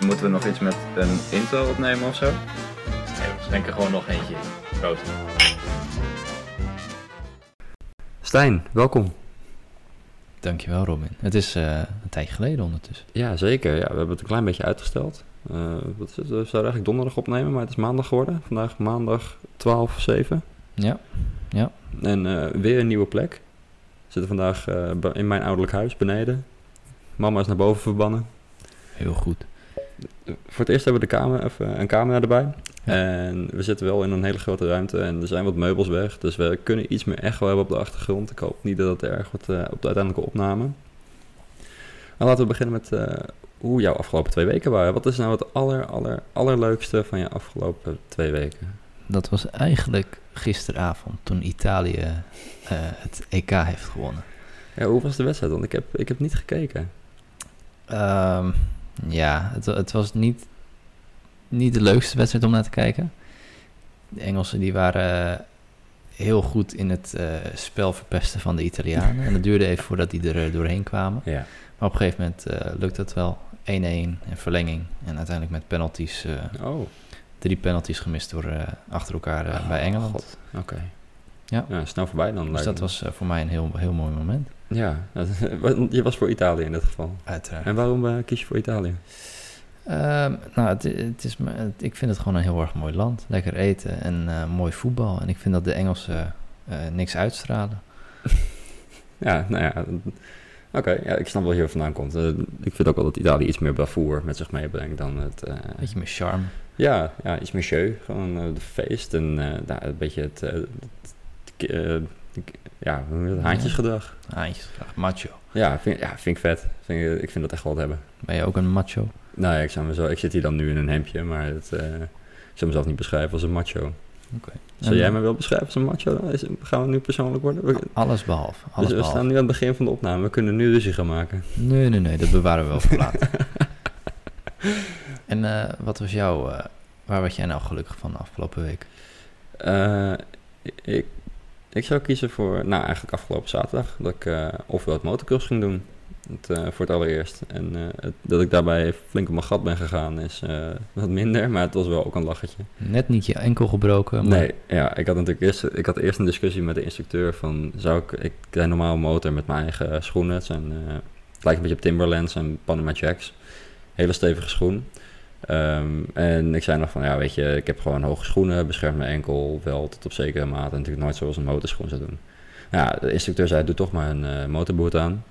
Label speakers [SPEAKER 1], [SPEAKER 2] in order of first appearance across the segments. [SPEAKER 1] Moeten we nog iets met een intro opnemen of zo?
[SPEAKER 2] Nee, we denken gewoon nog eentje. Proost.
[SPEAKER 3] Stijn, welkom.
[SPEAKER 4] Dankjewel, Robin. Het is eh, een tijdje geleden ondertussen.
[SPEAKER 3] Ja, zeker. Ja, we hebben het een klein beetje uitgesteld. Eh, wat is het? We zouden eigenlijk donderdag opnemen, maar het is maandag geworden. Vandaag maandag 12-7.
[SPEAKER 4] Ja,
[SPEAKER 3] En eh, weer een nieuwe plek. We zitten vandaag eh, be- in mijn ouderlijk huis beneden. Mama is naar boven verbannen.
[SPEAKER 4] heel goed.
[SPEAKER 3] Voor het eerst hebben we de kamer, of, eh, een camera erbij. En we zitten wel in een hele grote ruimte en er zijn wat meubels weg. Dus we kunnen iets meer echo hebben op de achtergrond. Ik hoop niet dat dat erg wordt eh, op de uiteindelijke opname. Maar laten we beginnen met eh, hoe jouw afgelopen twee weken waren. Wat is nou het aller, aller, allerleukste van je afgelopen twee weken?
[SPEAKER 4] Dat was eigenlijk gisteravond toen Italië eh, het EK heeft gewonnen.
[SPEAKER 3] Ja, hoe was de wedstrijd? Want ik heb, ik heb niet gekeken.
[SPEAKER 4] Ehm, ja, het, wa- het was niet, niet de leukste wedstrijd om naar te kijken. De Engelsen die waren heel goed in het eh, spel verpesten van de Italianen. En het duurde even voordat die er eh, doorheen kwamen.
[SPEAKER 3] Ja.
[SPEAKER 4] Maar op een gegeven moment eh, lukt dat wel. 1-1 en verlenging. En uiteindelijk met penalties eh,
[SPEAKER 3] Oh,
[SPEAKER 4] drie penalties gemist door, eh, achter elkaar eh, bij Engeland.
[SPEAKER 3] god. Oké.
[SPEAKER 4] Ja.
[SPEAKER 3] ja, snel voorbij dan.
[SPEAKER 4] Dus
[SPEAKER 3] lijkt
[SPEAKER 4] dat
[SPEAKER 3] me.
[SPEAKER 4] was eh, voor mij een heel, heel mooi moment.
[SPEAKER 3] Ja, want je was voor Italië in dit geval.
[SPEAKER 4] Uiteraard.
[SPEAKER 3] En waarom eh, kies je voor Italië?
[SPEAKER 4] nou, het, het is, me- het- ik vind het gewoon een heel erg mooi land. Lekker eten en eh, mooi voetbal. En ik vind dat de Engelsen eh, niks uitstralen.
[SPEAKER 3] Ja, nou ja. Oké, ja, ik snap wel hier vandaan komt. Eh, ik vind ook wel dat Italië iets meer bravoer met zich meebrengt dan het... eh,
[SPEAKER 4] Beetje meer charme.
[SPEAKER 3] ja, ja, iets meer show. Gewoon eh, de feest en eh, nou, een beetje het... eh, het- het- eh, ik- ja, hoe noem je dat? haantjesgedrag.
[SPEAKER 4] Haantjes, graag. Macho.
[SPEAKER 3] Ja, vind, ja, vind ik vet. Vind eh, ik, ik vind dat echt wel wat hebben.
[SPEAKER 4] Ben je ook een macho?
[SPEAKER 3] Nou ja, ik, zou mezelf, ik zit hier dan nu in een hemdje, maar het, eh, ik zou mezelf niet beschrijven als een macho. Zou
[SPEAKER 4] En
[SPEAKER 3] jij me wel beschrijven als een macho? Dan? Is, gaan we nu persoonlijk worden? We,
[SPEAKER 4] a- Alles behalve. Alles
[SPEAKER 3] dus we
[SPEAKER 4] behalve.
[SPEAKER 3] staan nu aan het begin van de opname. We kunnen nu ruzie gaan maken.
[SPEAKER 4] Nee, nee, nee. Dat bewaren we wel voor later. en eh, wat was jouw... eh, waar werd jij nou gelukkig van de afgelopen week?
[SPEAKER 3] Eh, ik, ik zou kiezen voor, nou eigenlijk afgelopen zaterdag, dat ik eh, ofwel het motocross ging doen, het, eh, voor het allereerst. En eh, het- dat ik daarbij flink op mijn gat ben gegaan is eh, wat minder, maar het was wel ook een lachetje.
[SPEAKER 4] Net niet je enkel gebroken, eh, maar...
[SPEAKER 3] Nee, ja, ik had natuurlijk eerst, ik had eerst een discussie met de instructeur van, zou ik, ik rijd normaal een motor met mijn eigen schoenen, het, zijn, eh, het lijkt een beetje op Timberlands en Panama Jacks, hele stevige schoen. Ehm, en ik zei nog van, ja weet je, ik heb gewoon hoge schoenen, bescherm mijn enkel wel tot op zekere mate, en natuurlijk nooit zoals een motorschoen zou doen. Ja, de instructeur zei, doe toch maar een eh, motorboot aan.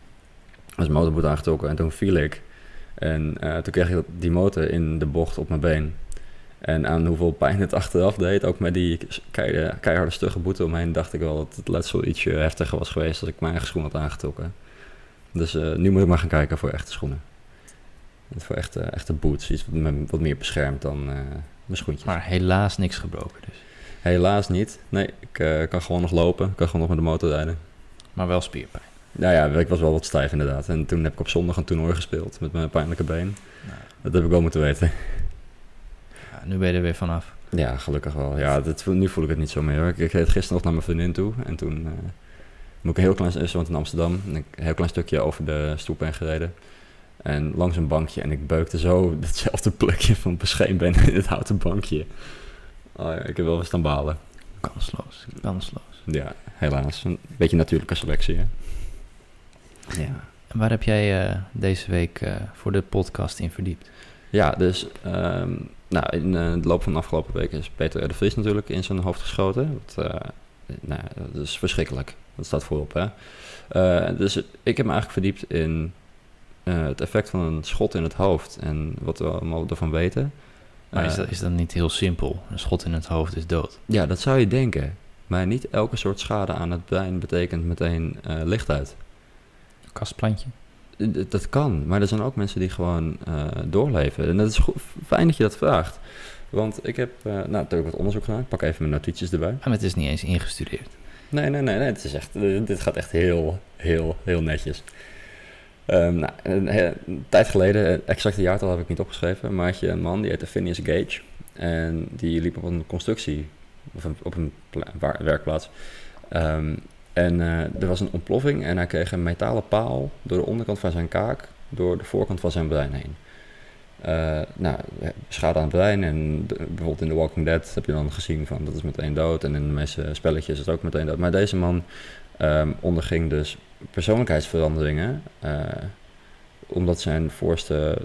[SPEAKER 3] Dus mijn motorboot aangetrokken en toen viel ik. En eh, toen kreeg ik dat- die motor in de bocht op mijn been. En aan hoeveel pijn het achteraf deed, ook met die keiharde, keiharde stugge boete omheen, dacht ik wel dat het letsel ietsje heftiger was geweest als ik mijn eigen schoen had aangetrokken. Dus eh, nu moet ik maar gaan kijken voor echte schoenen. En Voor echte, echte boots, iets wat me wat meer beschermt dan eh, mijn schoentjes.
[SPEAKER 4] Maar helaas niks gebroken dus.
[SPEAKER 3] Helaas niet. Nee, ik eh, kan gewoon nog lopen, ik kan gewoon nog met de motor rijden.
[SPEAKER 4] Maar wel spierpijn.
[SPEAKER 3] Nou ja, ik was wel wat stijf inderdaad. En toen heb ik op zondag een toernooi gespeeld met mijn pijnlijke been. Dat heb ik wel moeten weten.
[SPEAKER 4] Ja, nu ben je er weer vanaf.
[SPEAKER 3] Ja, gelukkig wel. Ja, dit, nu voel ik het niet zo meer. hoor. Ik, ik reed gisteren nog naar mijn vriendin toe en toen eh moet ik een heel klein stukje, want in Amsterdam, en ik een heel klein stukje over de stoep ben gereden. En langs een bankje en ik beukte zo hetzelfde plukje van bescheen ben in het houten bankje. Oh, ja, ik heb wel wat aan balen.
[SPEAKER 4] Kansloos, kansloos.
[SPEAKER 3] Ja, helaas. Een beetje natuurlijke selectie, hè? Ja.
[SPEAKER 4] En waar heb jij eh, deze week eh, voor de podcast in verdiept?
[SPEAKER 3] Ja, dus ehm, nou, in eh, de loop van de afgelopen week is Peter R. de Vries natuurlijk in zijn hoofd geschoten. Wat, eh, nou, dat is verschrikkelijk. Dat staat voorop, hè. Eh, dus ik heb me eigenlijk verdiept in eh, het effect van een schot in het hoofd en wat we allemaal ervan weten.
[SPEAKER 4] Maar is,
[SPEAKER 3] Eh,
[SPEAKER 4] dat, is dat niet heel simpel? Een schot in het hoofd is dood.
[SPEAKER 3] Ja, dat zou je denken. Maar niet elke soort schade aan het brein betekent meteen eh, licht uit.
[SPEAKER 4] Een kastplantje?
[SPEAKER 3] D- Dat kan, maar er zijn ook mensen die gewoon eh, doorleven. En dat is goed, fijn dat je dat vraagt. Want ik heb eh, nou, natuurlijk wat onderzoek gedaan. Ik pak even mijn notities erbij.
[SPEAKER 4] En het is niet eens ingestudeerd.
[SPEAKER 3] Nee, nee, nee, nee. Het is echt, eh, dit gaat echt heel, heel, heel netjes. Ehm, nou, een, he- een tijd geleden, eh, exact een jaartal heb ik niet opgeschreven, maar had je een man die heette Phineas Gage. En die liep op een constructie, of een- op een pla- waar- werkplaats. Ehm, en eh, er was een ontploffing en hij kreeg een metalen paal door de onderkant van zijn kaak, door de voorkant van zijn brein heen. eh, nou, schade aan het brein. En de- bijvoorbeeld in The Walking Dead heb je dan gezien van dat is meteen dood. En in de meeste spelletjes is het ook meteen dood. Maar deze man ehm, onderging dus persoonlijkheidsveranderingen. eh, omdat zijn voorste,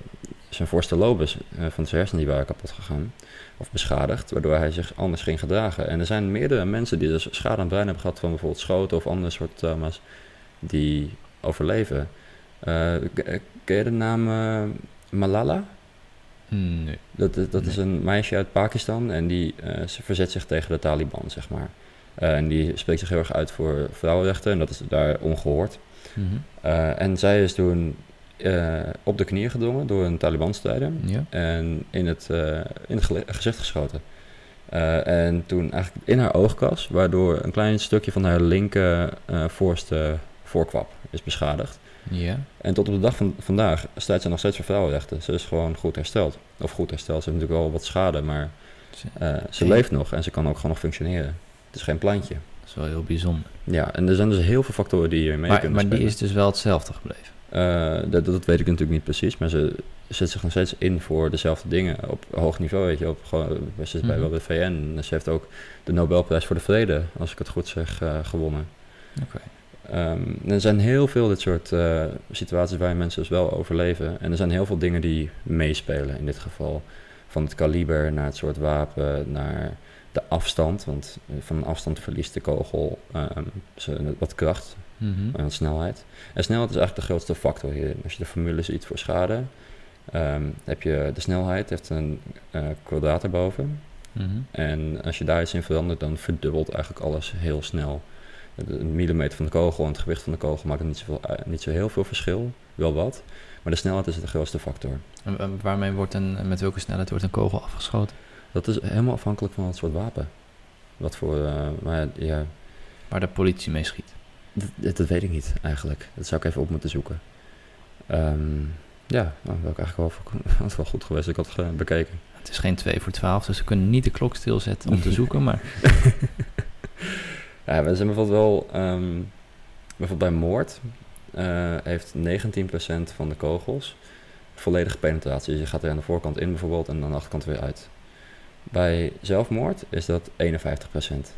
[SPEAKER 3] zijn voorste lobes eh, van zijn hersenen die waren kapot gegaan. Of beschadigd, waardoor hij zich anders ging gedragen. En er zijn meerdere mensen die dus schade aan het brein hebben gehad van bijvoorbeeld schoten of andere soort trauma's. Die overleven. Eh, k- ken je de naam eh, Malala?
[SPEAKER 4] Nee.
[SPEAKER 3] Dat, dat, dat is
[SPEAKER 4] Nee.
[SPEAKER 3] een meisje uit Pakistan en die eh, ze verzet zich tegen de Taliban, zeg maar. Eh, en die spreekt zich heel erg uit voor vrouwenrechten en dat is daar ongehoord.
[SPEAKER 4] Mhm.
[SPEAKER 3] Eh, en zij is toen eh, op de knieën gedwongen door een Taliban-strijder
[SPEAKER 4] Ja.
[SPEAKER 3] en in het, eh, in het gele- gezicht geschoten. Eh, en toen eigenlijk in haar oogkas, waardoor een klein stukje van haar linker eh, voorste voorkwap is beschadigd.
[SPEAKER 4] Ja.
[SPEAKER 3] En tot op de dag van vandaag staat ze nog steeds voor vrouwenrechten. Ze is gewoon goed hersteld. Of goed hersteld, ze heeft natuurlijk wel wat schade, maar
[SPEAKER 4] Ze-
[SPEAKER 3] eh, ze
[SPEAKER 4] Nee.
[SPEAKER 3] leeft nog en ze kan ook gewoon nog functioneren. Het is geen plantje.
[SPEAKER 4] Dat is wel heel bijzonder.
[SPEAKER 3] Ja, en er zijn dus heel veel factoren die hier mee
[SPEAKER 4] Maar,
[SPEAKER 3] kunnen
[SPEAKER 4] maar die
[SPEAKER 3] spelen.
[SPEAKER 4] is dus wel hetzelfde gebleven.
[SPEAKER 3] Eh, dat, dat weet ik natuurlijk niet precies, maar ze zet zich nog steeds in voor dezelfde dingen op hoog niveau. Weet je, op, gewoon, eh, ze is bij
[SPEAKER 4] Mhm.
[SPEAKER 3] wel de VN. Ze heeft ook de Nobelprijs voor de Vrede, als ik het goed zeg, eh, gewonnen.
[SPEAKER 4] Oké.
[SPEAKER 3] Ehm, er zijn heel veel dit soort eh, situaties waarin mensen dus wel overleven. En er zijn heel veel dingen die meespelen in dit geval. Van het kaliber naar het soort wapen, naar de afstand. Want eh, van een afstand verliest de kogel ehm, ze- wat kracht
[SPEAKER 4] Mhm.
[SPEAKER 3] en snelheid. En snelheid is eigenlijk de grootste factor hier. Als je de formule ziet voor schade, ehm, heb je de snelheid, heeft een eh kwadraat erboven.
[SPEAKER 4] Mhm.
[SPEAKER 3] En als je daar iets in verandert, dan verdubbelt eigenlijk alles heel snel. Een millimeter van de kogel en het gewicht van de kogel maakt niet, zoveel, uit- niet zo heel veel verschil, wel wat. Maar de snelheid is de grootste factor.
[SPEAKER 4] En wa- waarmee wordt een, met welke snelheid wordt een kogel afgeschoten?
[SPEAKER 3] Dat is helemaal afhankelijk van het soort wapen. Wat voor, eh, maar ja,
[SPEAKER 4] Waar de politie mee schiet.
[SPEAKER 3] dat- dat, dat weet ik niet eigenlijk. Dat zou ik even op moeten zoeken. Ehm, ja, nou, dat had ik eigenlijk wel, voor- had wel goed geweest. dat Ik had het ge- bekeken.
[SPEAKER 4] Het is geen 2 voor 12, dus we kunnen niet de klok stilzetten om te zoeken. Maar
[SPEAKER 3] Ja, we zijn bijvoorbeeld wel. ehm, bijvoorbeeld bij moord eh, heeft 19% van de kogels volledige penetratie. Dus je gaat er aan de voorkant in bijvoorbeeld en aan de achterkant weer uit. Bij zelfmoord is dat 51%.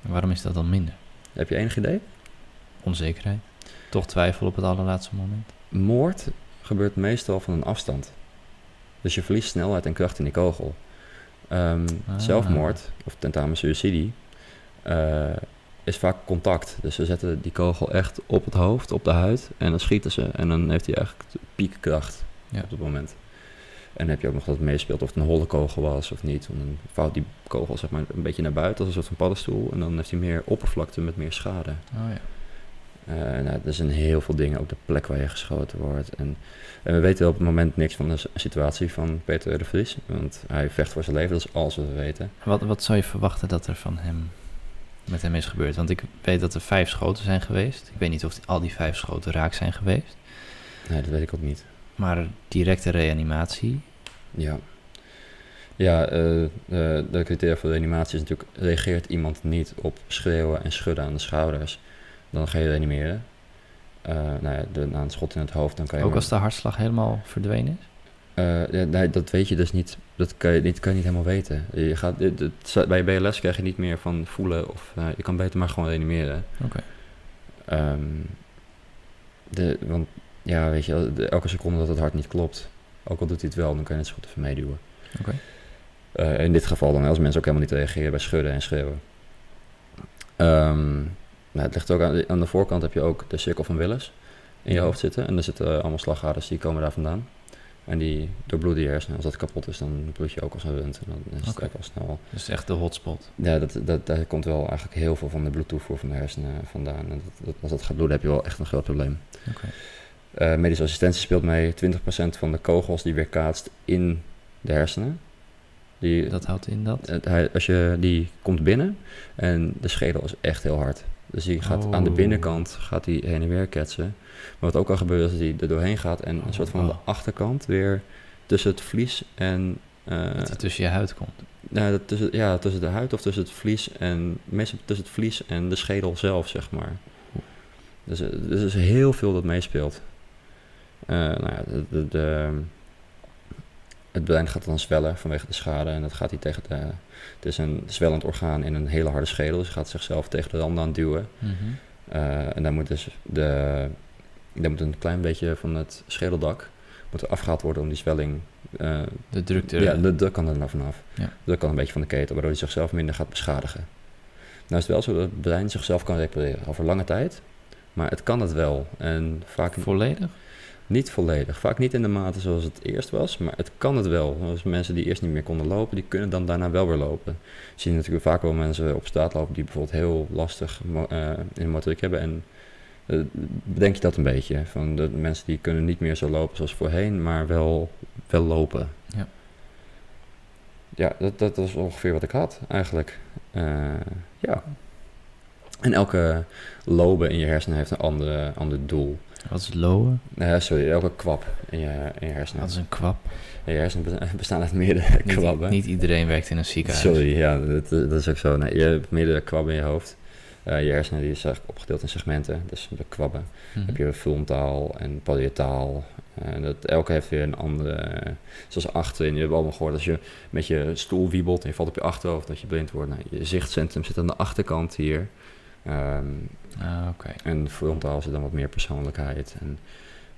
[SPEAKER 4] waarom is dat dan minder?
[SPEAKER 3] Heb je enig idee?
[SPEAKER 4] Onzekerheid. Toch twijfel op het allerlaatste moment.
[SPEAKER 3] Moord gebeurt meestal van een afstand. Dus je verliest snelheid en kracht in die kogel. Ehm,
[SPEAKER 4] Ah.
[SPEAKER 3] Zelfmoord, of tentamen suicidi, eh, is vaak contact. Dus ze zetten die kogel echt op het hoofd, op de huid, en dan schieten ze. En dan heeft hij eigenlijk de piekkracht
[SPEAKER 4] Ja.
[SPEAKER 3] op dat moment. En dan heb je ook nog dat het meespeelt of het een holle kogel was of niet. Want dan vouwt die kogel zeg maar een beetje naar buiten als een soort van paddenstoel. En dan heeft hij meer oppervlakte met meer schade.
[SPEAKER 4] Oh ja.
[SPEAKER 3] Eh, nou, er zijn heel veel dingen, ook de plek waar je geschoten wordt. En, en we weten op het moment niks van de s- situatie van Peter de Vries. Want hij vecht voor zijn leven, dat is alles wat we weten.
[SPEAKER 4] Wat, wat zou je verwachten dat er van hem, met hem is gebeurd? Want ik weet dat er vijf schoten zijn geweest. Ik weet niet of die- al die vijf schoten raak zijn geweest.
[SPEAKER 3] Nee, dat weet ik ook niet.
[SPEAKER 4] Maar directe reanimatie.
[SPEAKER 3] Ja, ja eh, eh, de criteria voor reanimatie is natuurlijk... reageert iemand niet op schreeuwen en schudden aan de schouders... dan ga je reanimeren. Eh, nou ja, de, na een schot in het hoofd, dan kan je...
[SPEAKER 4] Ook
[SPEAKER 3] maar-
[SPEAKER 4] als de hartslag helemaal verdwenen is.
[SPEAKER 3] Eh, ja, nee, dat weet je dus niet. Dat kan je, dit kan je niet helemaal weten. Je gaat, dit- dit- bij BLS krijg je niet meer van voelen of eh, je kan beter maar gewoon reanimeren.
[SPEAKER 4] Oké.
[SPEAKER 3] Ehm, de, want ja, weet je, wel, de- elke seconde dat het hart niet klopt, ook al doet hij het wel, dan kan je het zo goed even meeduwen.
[SPEAKER 4] Oké.
[SPEAKER 3] Eh, in dit geval dan, als mensen ook helemaal niet reageren bij schudden en schreeuwen. Ehm, nou, het ligt ook aan, aan de voorkant heb je ook de cirkel van Willis in je hoofd zitten. En er zitten eh, allemaal slagaders die komen daar vandaan. En die doorbloeden je hersenen. Als dat kapot is, dan bloed je ook als een rund. En dan is het
[SPEAKER 4] Oké.
[SPEAKER 3] eigenlijk al snel.
[SPEAKER 4] Dus echt de hotspot.
[SPEAKER 3] Ja, dat, dat, daar komt wel eigenlijk heel veel van de bloedtoevoer van de hersenen vandaan. En dat, dat- als dat gaat bloeden, heb je wel echt een groot probleem.
[SPEAKER 4] Oké.
[SPEAKER 3] Eh, medische assistentie speelt mee. 20% van de kogels die weer kaatst in de hersenen. Die,
[SPEAKER 4] Dat houdt in dat.
[SPEAKER 3] het- hij- als je, die komt binnen en de schedel is echt heel hard. Dus die gaat aan de
[SPEAKER 4] Oh.
[SPEAKER 3] binnenkant gaat die heen en weer ketsen. Maar wat ook al gebeurt is dat hij er doorheen gaat en
[SPEAKER 4] Oh,
[SPEAKER 3] een soort van aan de
[SPEAKER 4] wauw.
[SPEAKER 3] achterkant weer tussen het vlies en... eh,
[SPEAKER 4] Dat het tussen je huid komt.
[SPEAKER 3] nou, dat tussen, ja, tussen de huid of tussen het vlies en... Meestal tussen het vlies en de schedel zelf, zeg maar. Dus eh, er is heel veel dat meespeelt. Eh, nou ja, de, de, de, het brein gaat dan zwellen vanwege de schade. En dat gaat hij tegen de... Het is een zwellend orgaan in een hele harde schedel. Dus hij gaat zichzelf tegen de randen aan duwen.
[SPEAKER 4] Mhm.
[SPEAKER 3] Eh, en dan moet dus de, dan moet een klein beetje van het schedeldak moet er afgehaald worden om die zwelling... eh,
[SPEAKER 4] De drukte.
[SPEAKER 3] ja, de druk kan er nou vanaf.
[SPEAKER 4] Ja.
[SPEAKER 3] De druk kan een beetje van de keten, waardoor hij zichzelf minder gaat beschadigen. Nou is het wel zo dat het brein zichzelf kan repareren over lange tijd. Maar het kan het wel. En vaak
[SPEAKER 4] Volledig?
[SPEAKER 3] niet volledig. Vaak niet in de mate zoals het eerst was, maar het kan het wel. Dus mensen die eerst niet meer konden lopen, die kunnen dan daarna wel weer lopen. Je ziet natuurlijk vaak wel mensen op straat lopen die bijvoorbeeld heel lastig mo- eh, in de motoriek hebben. En eh, bedenk je dat een beetje. Van de mensen die kunnen niet meer zo lopen zoals voorheen, maar wel, wel lopen.
[SPEAKER 4] Ja.
[SPEAKER 3] Ja, dat, dat was ongeveer wat ik had eigenlijk. Eh, ja. En elke lobe in je hersenen heeft een andere, ander doel.
[SPEAKER 4] Wat is het lowen?
[SPEAKER 3] Nou ja, sorry, elke kwap in je, in je hersenen.
[SPEAKER 4] Dat is een kwap.
[SPEAKER 3] Ja, je hersenen bes- bestaan uit meerdere
[SPEAKER 4] Niet,
[SPEAKER 3] kwabben.
[SPEAKER 4] niet iedereen werkt in een ziekenhuis.
[SPEAKER 3] sorry, ja, dat, dat is ook zo. Nee, je hebt meerdere kwabben in je hoofd. Eh, je hersenen die is eigenlijk opgedeeld in segmenten, dus de kwabben.
[SPEAKER 4] Mhm.
[SPEAKER 3] Dan heb je frontaal en parietaal. En dat, elke heeft weer een andere, zoals achterin. Je hebt allemaal gehoord, als je met je stoel wiebelt en je valt op je achterhoofd, dat je blind wordt. Nou, je zichtcentrum zit aan de achterkant hier. Ehm,
[SPEAKER 4] Ah, oké.
[SPEAKER 3] en frontaal zit dan wat meer persoonlijkheid en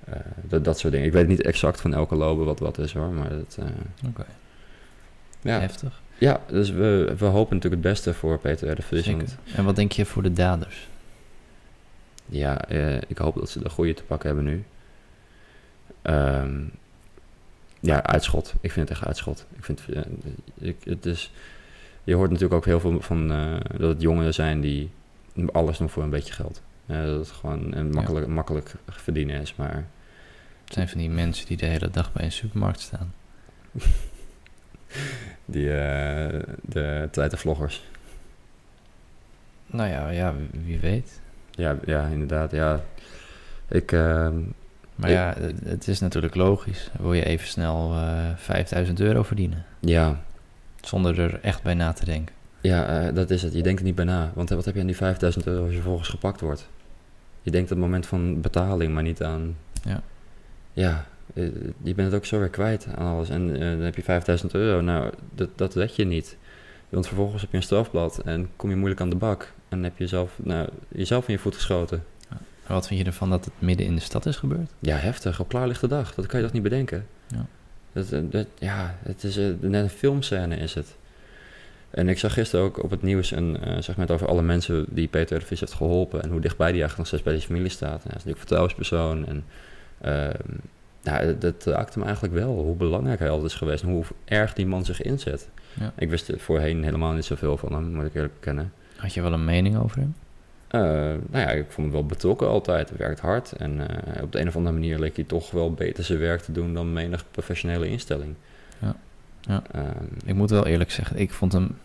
[SPEAKER 3] eh, dat, dat soort dingen. Ik weet niet exact van elke lobe wat wat is hoor, maar dat... eh,
[SPEAKER 4] Oké.
[SPEAKER 3] ja.
[SPEAKER 4] Heftig.
[SPEAKER 3] ja, dus we, we hopen natuurlijk het beste voor Peter R. de Vries.
[SPEAKER 4] Zeker.
[SPEAKER 3] want
[SPEAKER 4] En wat denk je voor de daders?
[SPEAKER 3] ja, eh, ik hoop dat ze de goede te pakken hebben nu. Ehm, ja, uitschot. Ik vind het echt uitschot. Ik vind, eh, ik, het is, je hoort natuurlijk ook heel veel van eh, dat het jongeren zijn die alles doen voor een beetje geld. Eh, dat het gewoon eh, makkelijk, makkelijk verdienen is, maar...
[SPEAKER 4] Het zijn van die mensen die de hele dag bij een supermarkt staan.
[SPEAKER 3] Die, eh, de vloggers.
[SPEAKER 4] Nou ja, ja wie- wie weet.
[SPEAKER 3] Ja, ja, inderdaad, ja. Ik, ehm,
[SPEAKER 4] Maar
[SPEAKER 3] Ik-
[SPEAKER 4] ja, het- het is natuurlijk logisch. Wil je even snel eh 5000 euro verdienen?
[SPEAKER 3] ja,
[SPEAKER 4] Zonder er echt bij na te denken.
[SPEAKER 3] ja eh, dat is het. Je denkt er niet bij na. Want eh, wat heb je aan die 5000 euro als je vervolgens gepakt wordt? Je denkt aan het moment van betaling, maar niet aan...
[SPEAKER 4] Ja.
[SPEAKER 3] Ja, eh, je bent het ook zo weer kwijt aan alles. En eh, dan heb je 5000 euro. Nou, dat, dat red je niet. Want vervolgens heb je een strafblad en kom je moeilijk aan de bak. En heb je jezelf, nou, jezelf in je voet geschoten.
[SPEAKER 4] En wat vind je ervan dat het midden in de stad is gebeurd?
[SPEAKER 3] Ja, heftig. Op klaarlichte dag. Dat kan je toch niet bedenken?
[SPEAKER 4] Ja.
[SPEAKER 3] Dat, eh, dat, ja, het is eh, net een filmscène is het. En ik zag gisteren ook op het nieuws een eh, segment over alle mensen die Peter R. de Vries heeft geholpen. En hoe dichtbij die eigenlijk nog steeds bij die familie staat. En hij is natuurlijk vertrouwenspersoon. En ehm, nou, dat raakte me eigenlijk wel. Hoe belangrijk hij altijd is geweest. En hoe erg die man zich inzet.
[SPEAKER 4] Ja.
[SPEAKER 3] Ik wist er voorheen helemaal niet zoveel van hem, moet ik eerlijk bekennen.
[SPEAKER 4] Had je wel een mening over hem?
[SPEAKER 3] Eh, nou ja, ik vond hem wel betrokken altijd. Hij werkt hard. En eh, op de een of andere manier leek hij toch wel beter zijn werk te doen dan menig professionele instelling.
[SPEAKER 4] Ja. Ja.
[SPEAKER 3] Ehm,
[SPEAKER 4] Ik moet wel eerlijk zeggen, ik vond hem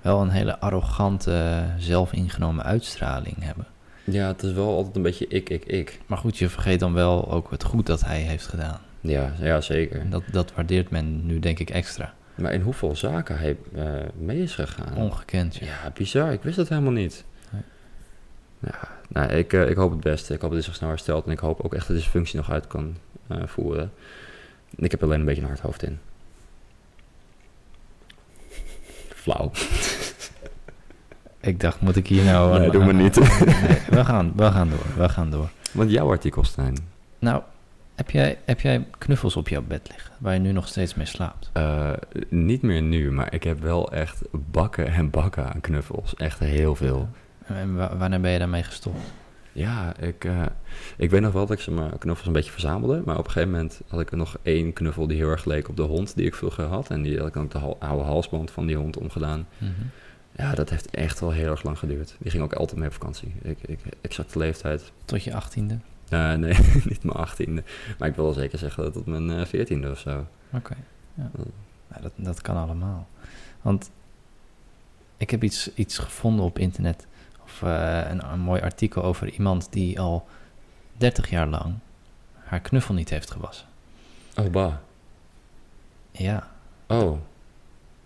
[SPEAKER 4] wel een hele arrogante, zelfingenomen uitstraling hebben.
[SPEAKER 3] ja, het is wel altijd een beetje ik, ik, ik.
[SPEAKER 4] Maar goed, je vergeet dan wel ook het goed dat hij heeft gedaan.
[SPEAKER 3] Ja, ja zeker.
[SPEAKER 4] En dat, dat waardeert men nu denk ik extra.
[SPEAKER 3] Maar in hoeveel zaken hij eh, mee is gegaan.
[SPEAKER 4] Ongekend, ja.
[SPEAKER 3] Ja, bizar. Ik wist dat helemaal niet.
[SPEAKER 4] Nee.
[SPEAKER 3] Ja, nou, ik, eh, ik hoop het beste. Ik hoop dat hij zich snel herstelt. En ik hoop ook echt dat hij zijn functie nog uit kan eh, voeren. Ik heb er alleen een beetje een hard hoofd in. Flauw.
[SPEAKER 4] Ik dacht, moet ik hier nou...
[SPEAKER 3] Nee,
[SPEAKER 4] aan-
[SPEAKER 3] doe maar
[SPEAKER 4] aan-
[SPEAKER 3] niet.
[SPEAKER 4] Nee, we, gaan, we gaan door, we gaan door.
[SPEAKER 3] Want jouw artikel, Stijn.
[SPEAKER 4] Nou, heb jij, heb jij knuffels op jouw bed liggen, waar je nu nog steeds mee slaapt?
[SPEAKER 3] Eh, niet meer nu, maar ik heb wel echt bakken en bakken aan knuffels. Echt heel veel.
[SPEAKER 4] En wa- wanneer ben je daarmee gestopt?
[SPEAKER 3] Ja, ik, eh, ik weet nog wel dat ik ze mijn knuffels een beetje verzamelde. Maar op een gegeven moment had ik er nog één knuffel die heel erg leek op de hond die ik vroeger had. En die had ik dan ook de hal- oude halsband van die hond omgedaan. Ja, dat heeft echt wel heel erg lang geduurd. Die ging ook altijd mee op vakantie. Ik, ik, exacte leeftijd.
[SPEAKER 4] Tot je achttiende?
[SPEAKER 3] Eh, nee, niet mijn achttiende. Maar ik wil wel zeker zeggen dat het mijn eh, veertiende of zo.
[SPEAKER 4] Nou, dat, dat kan allemaal. Want ik heb iets, iets gevonden op internet. Of eh, een, een mooi artikel over iemand die al 30 jaar lang haar knuffel niet heeft gewassen.
[SPEAKER 3] Oh, bah.
[SPEAKER 4] Ja.
[SPEAKER 3] Oh,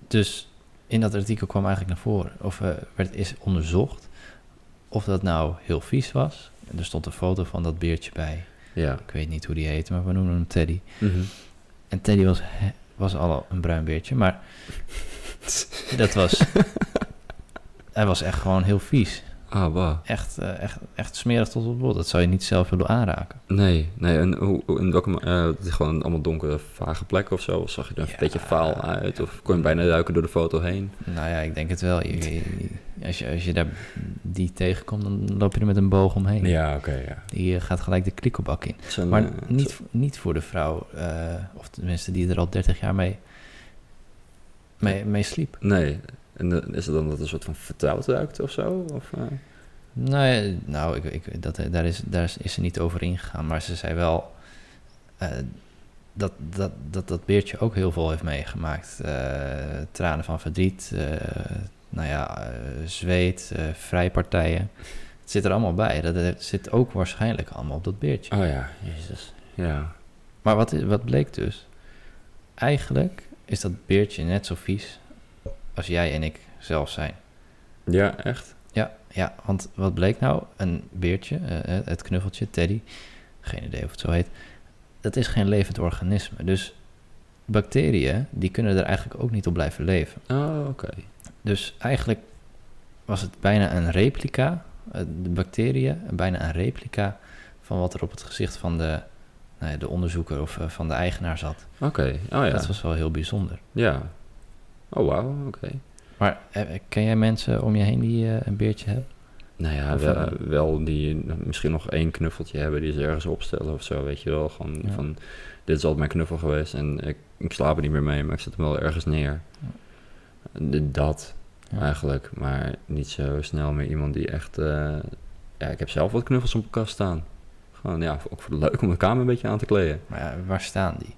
[SPEAKER 4] Dus in dat artikel kwam eigenlijk naar voren. Of eh, werd is onderzocht of dat nou heel vies was. En er stond een foto van dat beertje bij.
[SPEAKER 3] ja.
[SPEAKER 4] Ik weet niet hoe die heette, maar we noemen hem Teddy.
[SPEAKER 3] Mhm.
[SPEAKER 4] En Teddy was, he- was al een bruin beertje, maar dat was... Hij was echt gewoon heel vies.
[SPEAKER 3] Ah, bah.
[SPEAKER 4] Echt, eh, echt, echt smerig tot op het bot. Dat zou je niet zelf willen aanraken.
[SPEAKER 3] Nee, nee. En hoe, hoe- in welke... ma- eh, het is gewoon allemaal donkere, vage plekken of zo? Of zag je er een
[SPEAKER 4] Ja.
[SPEAKER 3] beetje faal uit? Of kon je bijna ruiken door de foto heen?
[SPEAKER 4] Nou ja, ik denk het wel. Je- je- je- als, je, als je daar die tegenkomt, dan loop je er met een boog omheen.
[SPEAKER 3] Ja, oké, ja.
[SPEAKER 4] Die eh, gaat gelijk de klikkelbak in.
[SPEAKER 3] Het is een,
[SPEAKER 4] Maar
[SPEAKER 3] eh,
[SPEAKER 4] niet, niet voor de vrouw, eh, of tenminste die er al 30 jaar mee, mee, mee sliep.
[SPEAKER 3] Nee. En eh, is het dan dat het een soort van vertrouwd ruikt of zo? Of, eh?
[SPEAKER 4] Nou, ja, nou ik, ik, dat, daar, is, daar is, is ze niet over ingegaan, maar ze zei wel eh, dat, dat, dat dat beertje ook heel veel heeft meegemaakt. Eh, tranen van verdriet, eh, nou ja, eh, zweet, eh, vrijpartijen. Het zit er allemaal bij. Dat, dat zit ook waarschijnlijk allemaal op dat beertje.
[SPEAKER 3] Oh ja, jezus. Ja.
[SPEAKER 4] Maar wat, wat bleek dus? Eigenlijk is dat beertje net zo vies als jij en ik zelf zijn.
[SPEAKER 3] Ja, echt?
[SPEAKER 4] Ja, ja, want wat bleek nou? Een beertje, eh, eh, het knuffeltje, Teddy, geen idee of het zo heet, dat is geen levend organisme. Dus bacteriën, die kunnen er eigenlijk ook niet op blijven leven.
[SPEAKER 3] Oh, oké.
[SPEAKER 4] Dus eigenlijk was het bijna een replica, eh, de bacteriën, bijna een replica van wat er op het gezicht van de, nou ja, de onderzoeker of eh, van de eigenaar zat.
[SPEAKER 3] Oké, oh ja.
[SPEAKER 4] Dat was wel heel bijzonder.
[SPEAKER 3] Ja. Oh, wauw, oké.
[SPEAKER 4] Maar eh, eh, ken jij mensen om je heen die eh, een beertje hebben?
[SPEAKER 3] Nou ja,
[SPEAKER 4] Of,
[SPEAKER 3] we-
[SPEAKER 4] eh,
[SPEAKER 3] wel die misschien nog één knuffeltje hebben die ze ergens opstellen of zo, weet je wel. Gewoon
[SPEAKER 4] Ja.
[SPEAKER 3] van, dit is altijd mijn knuffel geweest en ik, ik slaap er niet meer mee, maar ik zet hem wel ergens neer. D- Dat
[SPEAKER 4] Ja.
[SPEAKER 3] eigenlijk, maar niet zo snel meer iemand die echt... eh, ja, ik heb zelf wat knuffels op mijn kast staan. Gewoon, ja, ook voor de leuk om de kamer een beetje aan te kleden.
[SPEAKER 4] Maar ja, waar staan die?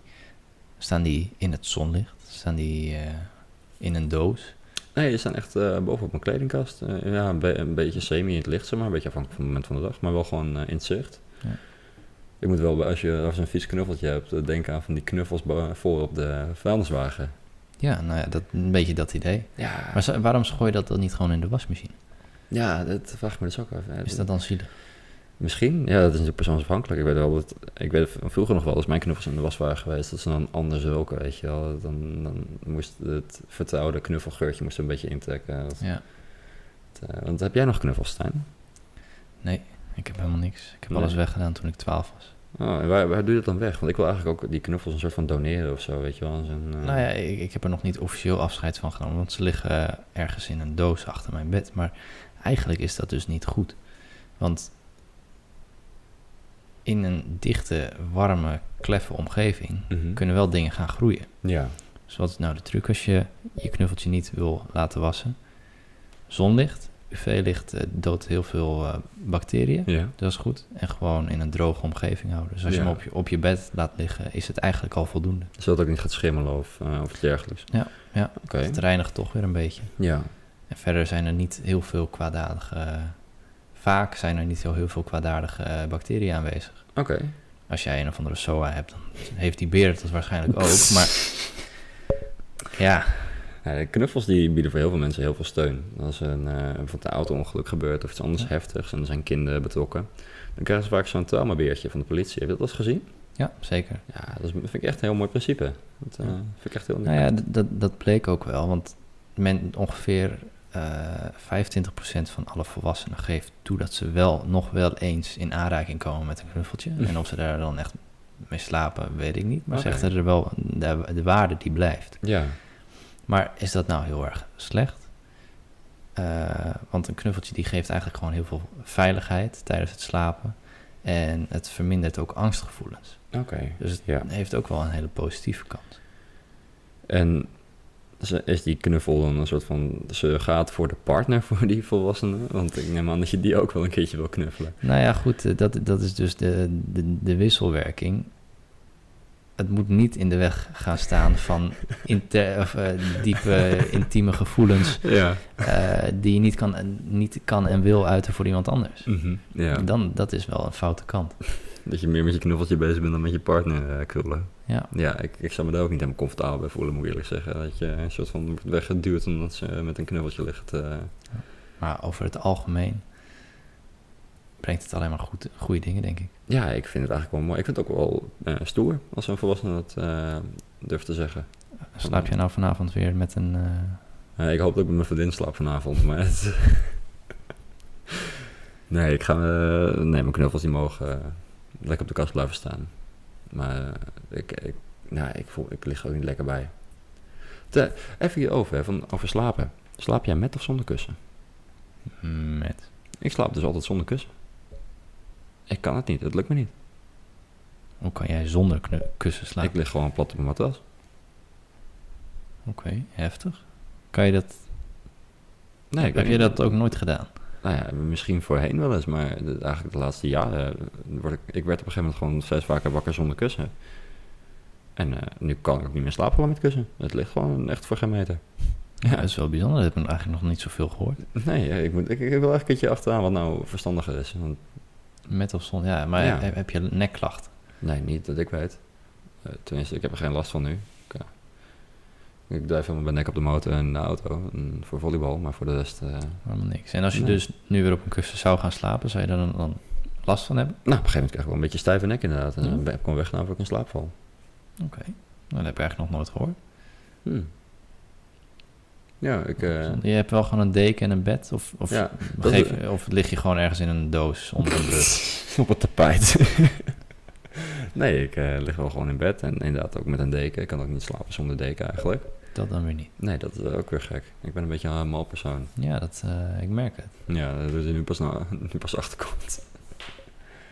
[SPEAKER 4] Staan die in het zonlicht? Staan die eh, in een doos?
[SPEAKER 3] Nee, ze staan echt eh, boven op mijn kledingkast. Eh, ja, een, be- een beetje semi in het licht, zeg maar. Een beetje afhankelijk van het moment van de dag, maar wel gewoon eh, in het zicht.
[SPEAKER 4] Ja.
[SPEAKER 3] Ik moet wel, bij- als je, als je een vies knuffeltje hebt, eh, denken aan van die knuffels bo- voor op de vuilniswagen.
[SPEAKER 4] Ja, nou ja, dat, een beetje dat idee.
[SPEAKER 3] Ja,
[SPEAKER 4] Maar zo- waarom gooi je dat dan niet gewoon in de wasmachine?
[SPEAKER 3] ja dat vraag ik me dus ook af. hè.
[SPEAKER 4] Is dat dan zielig?
[SPEAKER 3] Misschien, ja, dat is natuurlijk persoonafhankelijk. Ik weet wel dat, ik weet v- vroeger nog wel eens mijn knuffels in de was waren geweest. Dat ze dan anders roken, weet je wel. Dan, dan moest het vertrouwde knuffelgeurtje moest er een beetje intrekken. Dat,
[SPEAKER 4] Ja,
[SPEAKER 3] eh, want heb jij nog knuffels, Stijn?
[SPEAKER 4] ik heb helemaal niks. Ik heb
[SPEAKER 3] Nee.
[SPEAKER 4] alles weggedaan toen ik 12 was.
[SPEAKER 3] Oh, en waar, waar doe je dat dan weg? Want ik wil eigenlijk ook die knuffels een soort van doneren of zo, weet je wel. als een, eh,
[SPEAKER 4] Nou ja, ik, ik heb er nog niet officieel afscheid van genomen, want ze liggen eh, ergens in een doos achter mijn bed. Maar eigenlijk is dat dus niet goed. Want in een dichte, warme, kleffe omgeving
[SPEAKER 3] mhm.
[SPEAKER 4] kunnen wel dingen gaan groeien.
[SPEAKER 3] Ja.
[SPEAKER 4] Dus wat is nou de truc als je je knuffeltje niet wil laten wassen? Zonlicht, UV-licht eh, doodt heel veel eh, bacteriën.
[SPEAKER 3] ja.
[SPEAKER 4] Dat is goed. En gewoon in een droge omgeving houden. Dus als je
[SPEAKER 3] Ja.
[SPEAKER 4] hem op je, op je bed laat liggen, is het eigenlijk al voldoende.
[SPEAKER 3] Zodat het ook niet gaat schimmelen of, eh, of iets dergelijks.
[SPEAKER 4] Ja, ja.
[SPEAKER 3] Oké.
[SPEAKER 4] Dus Het reinigt toch weer een beetje.
[SPEAKER 3] Ja.
[SPEAKER 4] En verder zijn er niet heel veel kwaadaardige... eh, vaak zijn er niet heel, heel veel kwaadaardige eh, bacteriën aanwezig.
[SPEAKER 3] Oké.
[SPEAKER 4] Als jij een of andere SOA hebt, dan heeft die beer dat waarschijnlijk ook. Maar ja,
[SPEAKER 3] Ja, de knuffels die bieden voor heel veel mensen heel veel steun. Als er een eh, bijvoorbeeld een auto-ongeluk gebeurt of iets anders
[SPEAKER 4] Ja.
[SPEAKER 3] heftigs en er zijn kinderen betrokken, dan krijgen ze vaak zo'n traumabeertje van de politie. Heb je dat wel eens gezien?
[SPEAKER 4] ja zeker.
[SPEAKER 3] Ja, dat is- vind ik echt een heel mooi principe. Dat eh, vind ik echt heel
[SPEAKER 4] Nou ja, d- dat, dat bleek ook wel, want men ongeveer eh 25% van alle volwassenen geeft toe dat ze wel nog wel eens in aanraking komen met een knuffeltje.
[SPEAKER 3] Hm.
[SPEAKER 4] En of ze daar dan echt mee slapen, weet ik niet. Maar
[SPEAKER 3] Oké.
[SPEAKER 4] ze hechten er wel de, de waarde die blijft.
[SPEAKER 3] ja.
[SPEAKER 4] Maar is dat nou heel erg slecht? Eh, want een knuffeltje die geeft eigenlijk gewoon heel veel veiligheid tijdens het slapen. En het vermindert ook angstgevoelens.
[SPEAKER 3] Oké.
[SPEAKER 4] Dus het
[SPEAKER 3] Ja.
[SPEAKER 4] heeft ook wel een hele positieve kant.
[SPEAKER 3] En ze- is die knuffel dan een soort van... ze gaat voor de partner voor die volwassene? Want ik neem aan dat je die ook wel een keertje wil knuffelen.
[SPEAKER 4] Nou ja, goed, eh, dat, dat is dus de, de, de wisselwerking. Het moet niet in de weg gaan staan van inter, of, eh, diepe, intieme gevoelens
[SPEAKER 3] Ja.
[SPEAKER 4] eh, die je niet kan, en- niet kan en wil uiten voor iemand anders.
[SPEAKER 3] Mhm. ja.
[SPEAKER 4] Dan, dat is wel een foute kant.
[SPEAKER 3] Dat je meer met je knuffeltje bezig bent dan met je partner eh krullen.
[SPEAKER 4] Ja.
[SPEAKER 3] Ja, ik, ik zou me daar ook niet helemaal comfortabel bij voelen, moet ik eerlijk zeggen. Dat je een soort van wordt weggeduwd omdat ze met een knuffeltje ligt. eh.
[SPEAKER 4] Maar over het algemeen brengt het alleen maar goed, goede dingen, denk ik.
[SPEAKER 3] Ja, ik vind het eigenlijk wel mooi. Ik vind het ook wel eh, stoer als een volwassene dat eh, durft te zeggen.
[SPEAKER 4] Eh, Slaap je nou vanavond weer met een... eh,
[SPEAKER 3] Eh, ik hoop dat ik met mijn vriendin slaap vanavond, maar... het- nee, ik ga... eh, nee, mijn knuffels die mogen eh, lekker op de kast blijven staan. Maar eh, ik, ik, nou, ik, voel, ik lig er ook niet lekker bij. Te, even hierover, hè, van, over slapen. Slaap jij met of zonder kussen?
[SPEAKER 4] met.
[SPEAKER 3] Ik slaap dus altijd zonder kussen. Ik kan het niet, het lukt me niet.
[SPEAKER 4] Hoe kan jij zonder knu- kussen slapen?
[SPEAKER 3] Ik lig gewoon plat op mijn matras.
[SPEAKER 4] Oké, heftig. Kan je dat,
[SPEAKER 3] Nee, ik
[SPEAKER 4] heb
[SPEAKER 3] weet
[SPEAKER 4] je
[SPEAKER 3] niet.
[SPEAKER 4] dat ook nooit gedaan?
[SPEAKER 3] Nou ja, misschien voorheen wel eens, maar de- eigenlijk de laatste jaren word ik, ik werd op een gegeven moment gewoon steeds vaker wakker zonder kussen. En eh, nu kan ik ook niet meer slapen gewoon met kussen. Het ligt gewoon echt voor geen meter. Ja.
[SPEAKER 4] Dat is wel bijzonder, dat heb ik eigenlijk nog niet zoveel gehoord.
[SPEAKER 3] Nee, eh, ik, moet, ik, ik wil echt een keertje achteraan wat nou verstandiger is. Want,
[SPEAKER 4] Met of zonder, ja. Maar
[SPEAKER 3] Ja.
[SPEAKER 4] Heb, heb je nekklachten?
[SPEAKER 3] nee, niet dat ik weet. Eh, tenminste, ik heb er geen last van nu. Ik, eh, ik drijf helemaal mijn nek op de motor en de auto en voor volleybal, maar voor de rest... eh,
[SPEAKER 4] Helemaal niks. En als je
[SPEAKER 3] Nee.
[SPEAKER 4] dus nu weer op een kussen zou gaan slapen, zou je daar dan, dan last van hebben?
[SPEAKER 3] nou, op een gegeven moment krijg ik wel een beetje stijve nek inderdaad. En
[SPEAKER 4] Ja.
[SPEAKER 3] dan ben ik gewoon weggegaan voor ik in slaap val.
[SPEAKER 4] Oké. Nou, dat heb ik eigenlijk nog nooit gehoord.
[SPEAKER 3] Hmm. Ja, ik... eh,
[SPEAKER 4] Dus Je hebt wel gewoon een deken en een bed? Of, of,
[SPEAKER 3] ja, dat
[SPEAKER 4] geef, of lig je gewoon ergens in een doos onder een brug?
[SPEAKER 3] op het tapijt. nee, ik eh, lig wel gewoon in bed en inderdaad ook met een deken. Ik kan ook niet slapen zonder deken eigenlijk.
[SPEAKER 4] Dat dan weer niet.
[SPEAKER 3] Nee, dat is ook weer gek. Ik ben een beetje een mal persoon.
[SPEAKER 4] Ja, dat, eh, ik merk het.
[SPEAKER 3] Ja, dat is nu pas, na, nu pas achterkomt.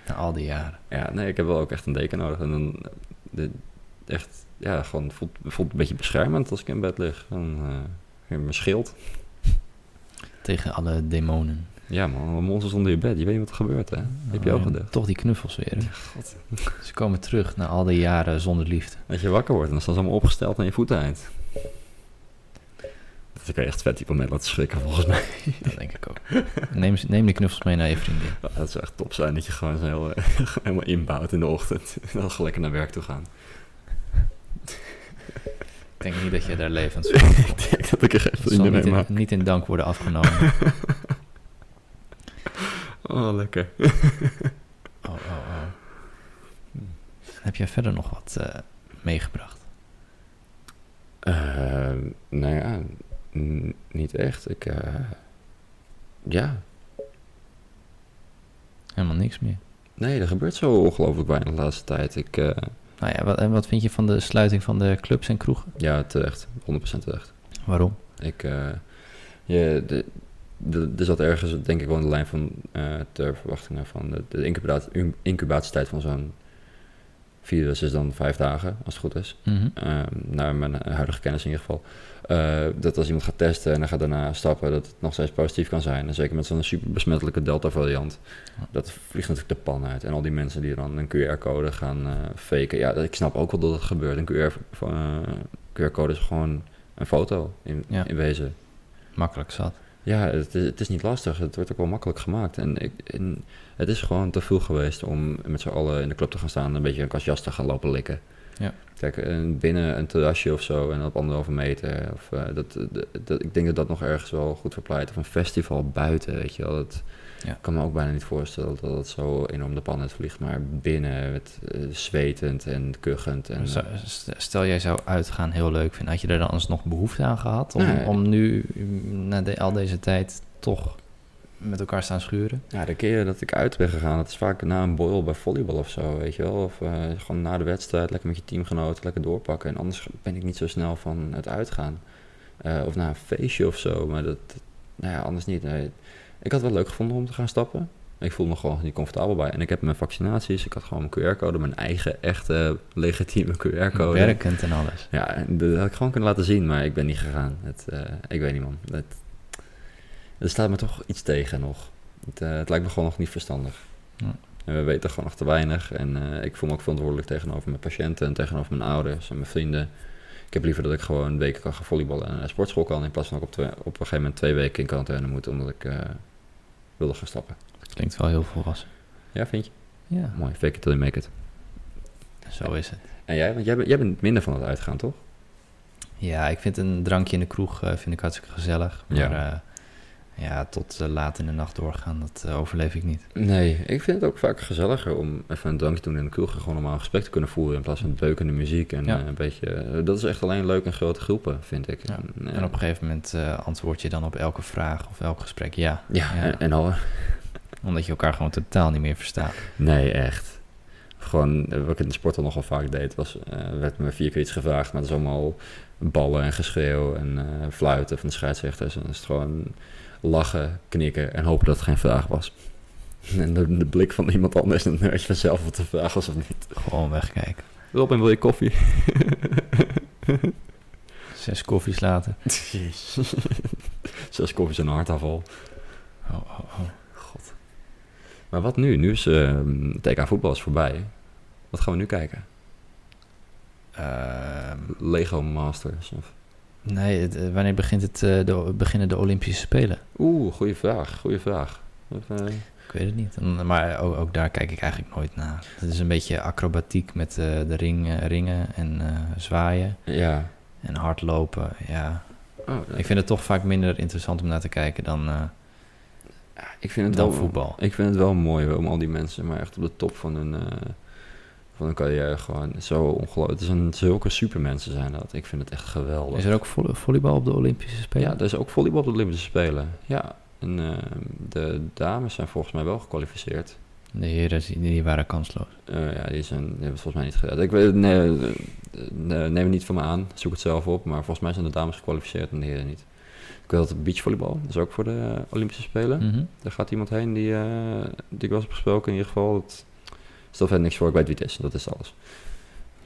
[SPEAKER 4] Na al die jaren.
[SPEAKER 3] Ja, nee, ik heb wel ook echt een deken nodig. En dan eh, de- echt, ja, gewoon voelt, voelt een beetje beschermend als ik in bed lig. Dan eh, mijn schild.
[SPEAKER 4] Tegen alle demonen.
[SPEAKER 3] Ja man, een monster onder je bed. Je weet niet wat er gebeurt hè. Heb je
[SPEAKER 4] Oh,
[SPEAKER 3] ook
[SPEAKER 4] ja,
[SPEAKER 3] gedacht.
[SPEAKER 4] Toch die knuffels weer. hè? Ze komen terug na al die jaren zonder liefde.
[SPEAKER 3] Dat je wakker wordt en dan staan ze allemaal opgesteld aan je voeteneind. Dat kan je echt vet die moment laten schrikken volgens mij.
[SPEAKER 4] Dat denk ik ook. Neem, ze- neem die knuffels mee naar je vriendin.
[SPEAKER 3] Ja, dat zou echt top zijn dat je gewoon zo heel, eh, helemaal inbouwt in de ochtend. En dan gewoon lekker naar werk toe gaan.
[SPEAKER 4] Ik denk niet dat je daar levend
[SPEAKER 3] Ik denk dat ik er geen
[SPEAKER 4] Het zal
[SPEAKER 3] vrienden mee
[SPEAKER 4] niet in,
[SPEAKER 3] maak.
[SPEAKER 4] niet in dank worden afgenomen.
[SPEAKER 3] Oh, lekker.
[SPEAKER 4] Oh, oh, oh. Hm. Heb jij verder nog wat eh, meegebracht?
[SPEAKER 3] Eh, nou ja, n- niet echt. Ik, eh, ja.
[SPEAKER 4] Helemaal niks meer.
[SPEAKER 3] Nee, er gebeurt zo ongelooflijk weinig de laatste tijd. Ik, eh,
[SPEAKER 4] Nou ja, wat, en wat vind je van de sluiting van de clubs en kroegen?
[SPEAKER 3] ja, terecht. 100% terecht.
[SPEAKER 4] Waarom?
[SPEAKER 3] Ik, eh, je, de, de, er zat ergens, denk ik, wel in de lijn van eh, ter verwachtingen van de, de incubatie, um, incubatietijd van zo'n virus is dan vijf dagen, als het goed is.
[SPEAKER 4] Mhm.
[SPEAKER 3] Ehm, naar mijn huidige kennis in ieder geval. Eh, dat als iemand gaat testen en dan gaat daarna stappen, dat het nog steeds positief kan zijn. En zeker met zo'n super besmettelijke Delta-variant. Dat vliegt natuurlijk de pan uit. En al die mensen die dan een QR-code gaan eh, faken. Ja, dat- ik snap ook wel dat het gebeurt. Een QR, van, eh, QR-code is gewoon een foto in,
[SPEAKER 4] Ja.
[SPEAKER 3] in wezen.
[SPEAKER 4] Makkelijk zat.
[SPEAKER 3] Ja, het is, het is niet lastig. Het wordt ook wel makkelijk gemaakt. En, ik, en het is gewoon te veel geweest om met z'n allen in de club te gaan staan... en een beetje een kastjas te gaan lopen likken.
[SPEAKER 4] Ja.
[SPEAKER 3] Kijk, een- binnen een terrasje of zo en op anderhalve meter. Of, eh, dat, dat, dat- ik denk dat dat nog ergens wel goed verpleit. Of een festival buiten, weet je wel. Dat
[SPEAKER 4] Ja.
[SPEAKER 3] kan me ook bijna niet voorstellen dat dat zo enorm de pan uit vliegt. Maar binnen, met, eh, zwetend en kuchend. En,
[SPEAKER 4] Zou- st- Stel jij zou uitgaan heel leuk vinden. Had je daar dan alsnog behoefte aan gehad? Om,
[SPEAKER 3] Nee.
[SPEAKER 4] om nu, mm, na de- al deze tijd, toch met elkaar staan schuren?
[SPEAKER 3] Ja, de keren dat ik uit ben gegaan, dat is vaak na een boil bij volleybal of zo, weet je wel. Of eh, gewoon na de wedstrijd, lekker met je teamgenoten, lekker doorpakken. En anders ben ik niet zo snel van het uitgaan. Eh, of na een feestje of zo, maar dat, dat- nou ja, anders niet. Nee. Ik had het wel leuk gevonden om te gaan stappen. Ik voelde me gewoon niet comfortabel bij. En ik heb mijn vaccinaties, ik had gewoon mijn QR-code, mijn eigen, echte, legitieme QR-code.
[SPEAKER 4] Werkend en alles.
[SPEAKER 3] Ja, en dat had ik gewoon kunnen laten zien, maar ik ben niet gegaan. Het, eh, ik weet niet, man. Het, er staat me toch iets tegen nog. Het, eh, het lijkt me gewoon nog niet verstandig.
[SPEAKER 4] Ja.
[SPEAKER 3] En we weten gewoon nog te weinig. En eh, ik voel me ook verantwoordelijk tegenover mijn patiënten en tegenover mijn ouders en mijn vrienden. Ik heb liever dat ik gewoon weken kan gaan volleyballen en naar de sportschool kan. In plaats van dat ik op, twee- op een gegeven moment twee weken in quarantaine moet, omdat ik eh, wilde gaan stappen.
[SPEAKER 4] Klinkt wel heel volwassen.
[SPEAKER 3] Ja, vind je?
[SPEAKER 4] Ja,
[SPEAKER 3] Mooi, fake it till you make it.
[SPEAKER 4] zo is het.
[SPEAKER 3] En jij? Want jij, bent- jij bent minder van het uitgaan, toch?
[SPEAKER 4] Ja, ik vind een drankje in de kroeg eh, vind ik hartstikke gezellig. Maar
[SPEAKER 3] Ja.
[SPEAKER 4] ja, ja, tot eh, laat in de nacht doorgaan, dat eh, overleef ik niet.
[SPEAKER 3] Nee, ik vind het ook vaak gezelliger om even een drankje doen in de kroeg en gewoon normaal een gesprek te kunnen voeren in plaats van beukende muziek en
[SPEAKER 4] Ja.
[SPEAKER 3] eh, een beetje... eh, dat is echt alleen leuk in grote groepen, vind ik.
[SPEAKER 4] Ja.
[SPEAKER 3] En, eh,
[SPEAKER 4] En op een gegeven moment eh, antwoord je dan op elke vraag of elk gesprek ja.
[SPEAKER 3] ja,
[SPEAKER 4] Ja.
[SPEAKER 3] en, en al...
[SPEAKER 4] Omdat je elkaar gewoon totaal niet meer verstaat.
[SPEAKER 3] Nee, echt. Gewoon, eh, wat ik in de sport al nogal vaak deed, was, eh, werd me vier keer iets gevraagd, maar dat is allemaal ballen en geschreeuw en eh, fluiten van de scheidsrechters. En dan is het gewoon lachen, knikken en hopen dat het geen vraag was. En de, de blik van iemand anders, dan weet je vanzelf wat de vraag was of niet.
[SPEAKER 4] Gewoon wegkijken.
[SPEAKER 3] Robin, wil je koffie?
[SPEAKER 4] Zes koffies later.
[SPEAKER 3] Zes koffies en een hartaanval.
[SPEAKER 4] Oh, oh, oh.
[SPEAKER 3] Maar wat nu? Nu is eh, TK voetbal is voorbij. Wat gaan we nu kijken?
[SPEAKER 4] Ehm,
[SPEAKER 3] Lego Masters? Of...
[SPEAKER 4] nee, het- eh, wanneer begint het, eh, de, beginnen de Olympische Spelen?
[SPEAKER 3] Oeh, goede vraag, goede vraag. eh, Even-
[SPEAKER 4] Ik weet het niet. En- Maar ook, ook daar kijk ik eigenlijk nooit naar. Het is een beetje acrobatiek met eh, de ring, eh, ringen en eh, zwaaien
[SPEAKER 3] Ja.
[SPEAKER 4] en hardlopen. Ja.
[SPEAKER 3] Oh, ik,
[SPEAKER 4] Nou, Ik vind het toch vaak minder interessant om naar te kijken dan, eh,
[SPEAKER 3] ik vind het
[SPEAKER 4] dan
[SPEAKER 3] wel
[SPEAKER 4] voetbal.
[SPEAKER 3] Ik vind het wel mooi hoor, om al die mensen, maar echt op de top van hun, eh, van hun carrière gewoon zo ongelooflijk. Het zijn zulke supermensen zijn dat. Ik vind het echt geweldig.
[SPEAKER 4] Is er ook vo- volleybal op de Olympische Spelen?
[SPEAKER 3] Ja, er is ook volleybal op de Olympische Spelen. Ja. En eh, de dames zijn volgens mij wel gekwalificeerd.
[SPEAKER 4] De heren die, die waren kansloos.
[SPEAKER 3] Eh, ja, die, zijn, die hebben het volgens mij niet gedaan. Ik weet, het- nee, eh, nee, neem het niet van me aan. Zoek het zelf op. Maar volgens mij zijn de dames gekwalificeerd en de heren niet. Ik weet dat beachvolleybal, dat is ook voor de eh, Olympische Spelen.
[SPEAKER 4] Mhm.
[SPEAKER 3] Daar gaat iemand heen die, eh, die ik was heb gesproken in ieder geval. Dat stel verder niks voor, ik weet wie het is. Dat is alles.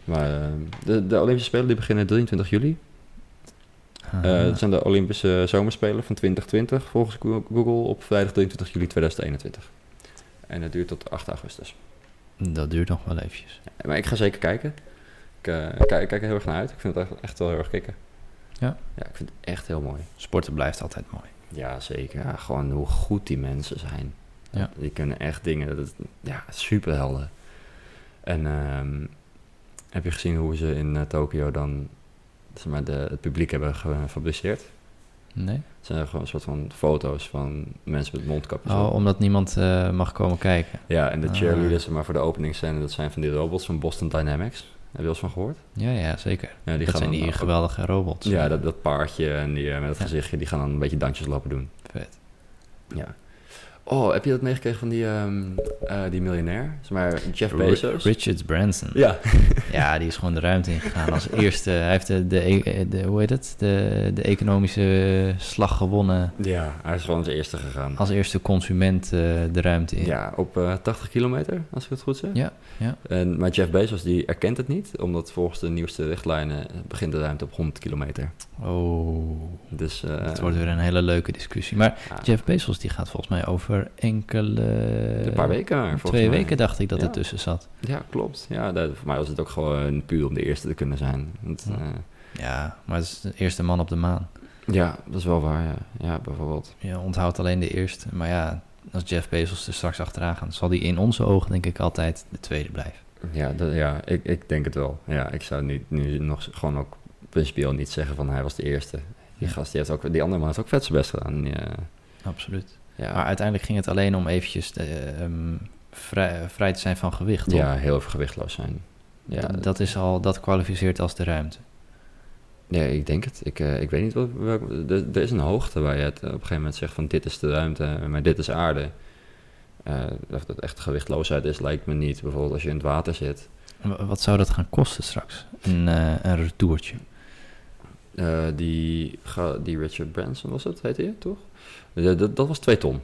[SPEAKER 3] Maar eh, de, de Olympische Spelen die beginnen 23 juli. Eh,
[SPEAKER 4] Ah.
[SPEAKER 3] dat zijn de Olympische Zomerspelen van 2020 volgens Go- Google op vrijdag 23 juli 2021. En dat duurt tot 8 augustus.
[SPEAKER 4] Dat duurt nog wel eventjes.
[SPEAKER 3] Maar ik ga zeker kijken. Ik eh, kijk, ik kijk er heel erg naar uit. Ik vind het echt, echt wel heel erg kicken.
[SPEAKER 4] Ja.
[SPEAKER 3] ja, ik vind het echt heel mooi.
[SPEAKER 4] Sporten blijft altijd mooi.
[SPEAKER 3] Ja, zeker. Ja, gewoon hoe goed die mensen zijn.
[SPEAKER 4] Ja.
[SPEAKER 3] Die kunnen echt dingen. Dat, ja, superhelden. En ehm, heb je gezien hoe ze in eh, Tokio dan zeg maar, de, het publiek hebben ge- gepubliceerd?
[SPEAKER 4] Nee?
[SPEAKER 3] Het zijn gewoon een soort van foto's van mensen met mondkapjes op.
[SPEAKER 4] Oh, omdat niemand eh, mag komen kijken.
[SPEAKER 3] Ja, en de
[SPEAKER 4] Ah.
[SPEAKER 3] cheerleaders, maar voor de openingsscène, dat zijn van die robots van Boston Dynamics. Heb je wel eens van gehoord?
[SPEAKER 4] Ja, ja, zeker.
[SPEAKER 3] Ja, die
[SPEAKER 4] dat zijn
[SPEAKER 3] dan
[SPEAKER 4] die
[SPEAKER 3] ook-
[SPEAKER 4] geweldige robots.
[SPEAKER 3] Ja, dat, dat paardje en die, eh, met dat
[SPEAKER 4] Ja.
[SPEAKER 3] gezichtje, die gaan dan een beetje dansjes lopen doen.
[SPEAKER 4] Vet.
[SPEAKER 3] Ja. Oh, heb je dat meegekregen van die, ehm, eh, die miljonair? Zeg maar, Jeff
[SPEAKER 4] Ri-
[SPEAKER 3] Bezos?
[SPEAKER 4] Richard Branson.
[SPEAKER 3] Ja.
[SPEAKER 4] Ja, die is gewoon de ruimte ingegaan als eerste. Hij heeft de, de, de- hoe heet het? De, de economische slag gewonnen.
[SPEAKER 3] Ja, hij is gewoon als eerste gegaan.
[SPEAKER 4] Als eerste consument eh, de ruimte in.
[SPEAKER 3] Ja, op eh, 80 kilometer, als ik het goed zeg.
[SPEAKER 4] Ja, ja.
[SPEAKER 3] En, maar Jeff Bezos die erkent het niet, omdat volgens de nieuwste richtlijnen eh, begint de ruimte op 100 kilometer.
[SPEAKER 4] Oh,
[SPEAKER 3] Dus, eh,
[SPEAKER 4] dat wordt weer een hele leuke discussie. Maar
[SPEAKER 3] ja,
[SPEAKER 4] Jeff Bezos die gaat volgens mij over enkele...
[SPEAKER 3] een paar weken maar, volgens
[SPEAKER 4] eh, Twee
[SPEAKER 3] mij.
[SPEAKER 4] weken dacht ik dat
[SPEAKER 3] Ja.
[SPEAKER 4] er tussen zat.
[SPEAKER 3] Ja, klopt. Ja, daar- voor mij was het ook gewoon puur om de eerste te kunnen zijn. Want,
[SPEAKER 4] Ja.
[SPEAKER 3] eh,
[SPEAKER 4] Ja, maar het is de eerste man op de maan.
[SPEAKER 3] ja, dat is wel waar, ja. Ja, bijvoorbeeld.
[SPEAKER 4] Je onthoudt alleen de eerste. Maar ja, als Jeff Bezos er straks achteraan gaat... zal die in onze ogen denk ik altijd de tweede blijven.
[SPEAKER 3] Ja, dat, ja ik, ik denk het wel. Ja, ik zou nu, nu nog gewoon ook principieel niet zeggen van hij was de eerste. Die
[SPEAKER 4] Ja.
[SPEAKER 3] gast, die, heeft ook, die andere man heeft ook vet zijn best gedaan. eh, Ja,
[SPEAKER 4] Absoluut.
[SPEAKER 3] ja.
[SPEAKER 4] Maar uiteindelijk ging het alleen om eventjes eh, ehm, vrij, vrij te zijn van gewicht. Toch?
[SPEAKER 3] ja heel even gewichtloos zijn. Ja,
[SPEAKER 4] D- dat, is al, dat kwalificeert als de ruimte.
[SPEAKER 3] nee, ik denk het. Ik, eh, ik weet niet wat... welk- er, er is een hoogte waar je het eh, op een gegeven moment zegt van dit is de ruimte, maar dit is aarde. Eh, of dat echt gewichtloosheid is, lijkt me niet. Bijvoorbeeld als je in het water zit.
[SPEAKER 4] W- wat zou dat gaan kosten straks? Een, eh, een retourtje.
[SPEAKER 3] Eh, die, ga- die Richard Branson was het, heette je, toch? Dat- dat, dat was twee ton.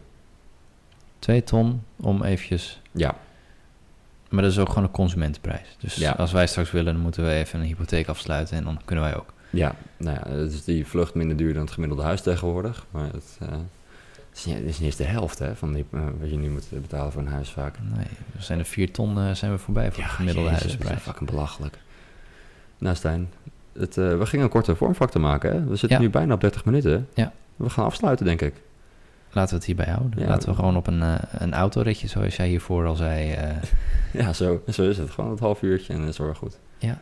[SPEAKER 4] Twee ton om eventjes...
[SPEAKER 3] Ja,
[SPEAKER 4] Maar dat is ook gewoon een consumentenprijs. Dus
[SPEAKER 3] Ja.
[SPEAKER 4] als wij straks willen, dan moeten we even een hypotheek afsluiten. En dan kunnen wij ook.
[SPEAKER 3] Ja, nou ja, het is die vlucht minder duur dan het gemiddelde huis tegenwoordig. Maar het, eh, het, is, niet, het is niet eens de helft hè, van die, eh, wat je nu moet betalen voor een huis vaak.
[SPEAKER 4] Nee, we zijn er vier ton eh, zijn we voorbij voor de gemiddelde
[SPEAKER 3] Jezus, Dat
[SPEAKER 4] huizenprijs.
[SPEAKER 3] is fucking belachelijk. Nou Stijn, het, eh, we gingen een korte vormfactor maken. Hè? We zitten
[SPEAKER 4] Ja.
[SPEAKER 3] nu bijna op 30 minuten.
[SPEAKER 4] Ja.
[SPEAKER 3] We gaan afsluiten denk ik.
[SPEAKER 4] Laten we het hierbij houden.
[SPEAKER 3] Ja.
[SPEAKER 4] Laten we gewoon op een, eh, een autoritje, zoals jij hiervoor al zei. eh,
[SPEAKER 3] Ja, zo, zo is het. Gewoon het half uurtje en dan is het weer goed.
[SPEAKER 4] Ja.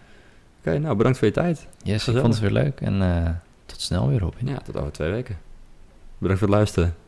[SPEAKER 3] Oké, nou bedankt voor je tijd.
[SPEAKER 4] yes, ik
[SPEAKER 3] Gezellig.
[SPEAKER 4] vond het weer leuk. En eh, tot snel weer, Robin.
[SPEAKER 3] Ja, tot over twee weken. Bedankt voor het luisteren.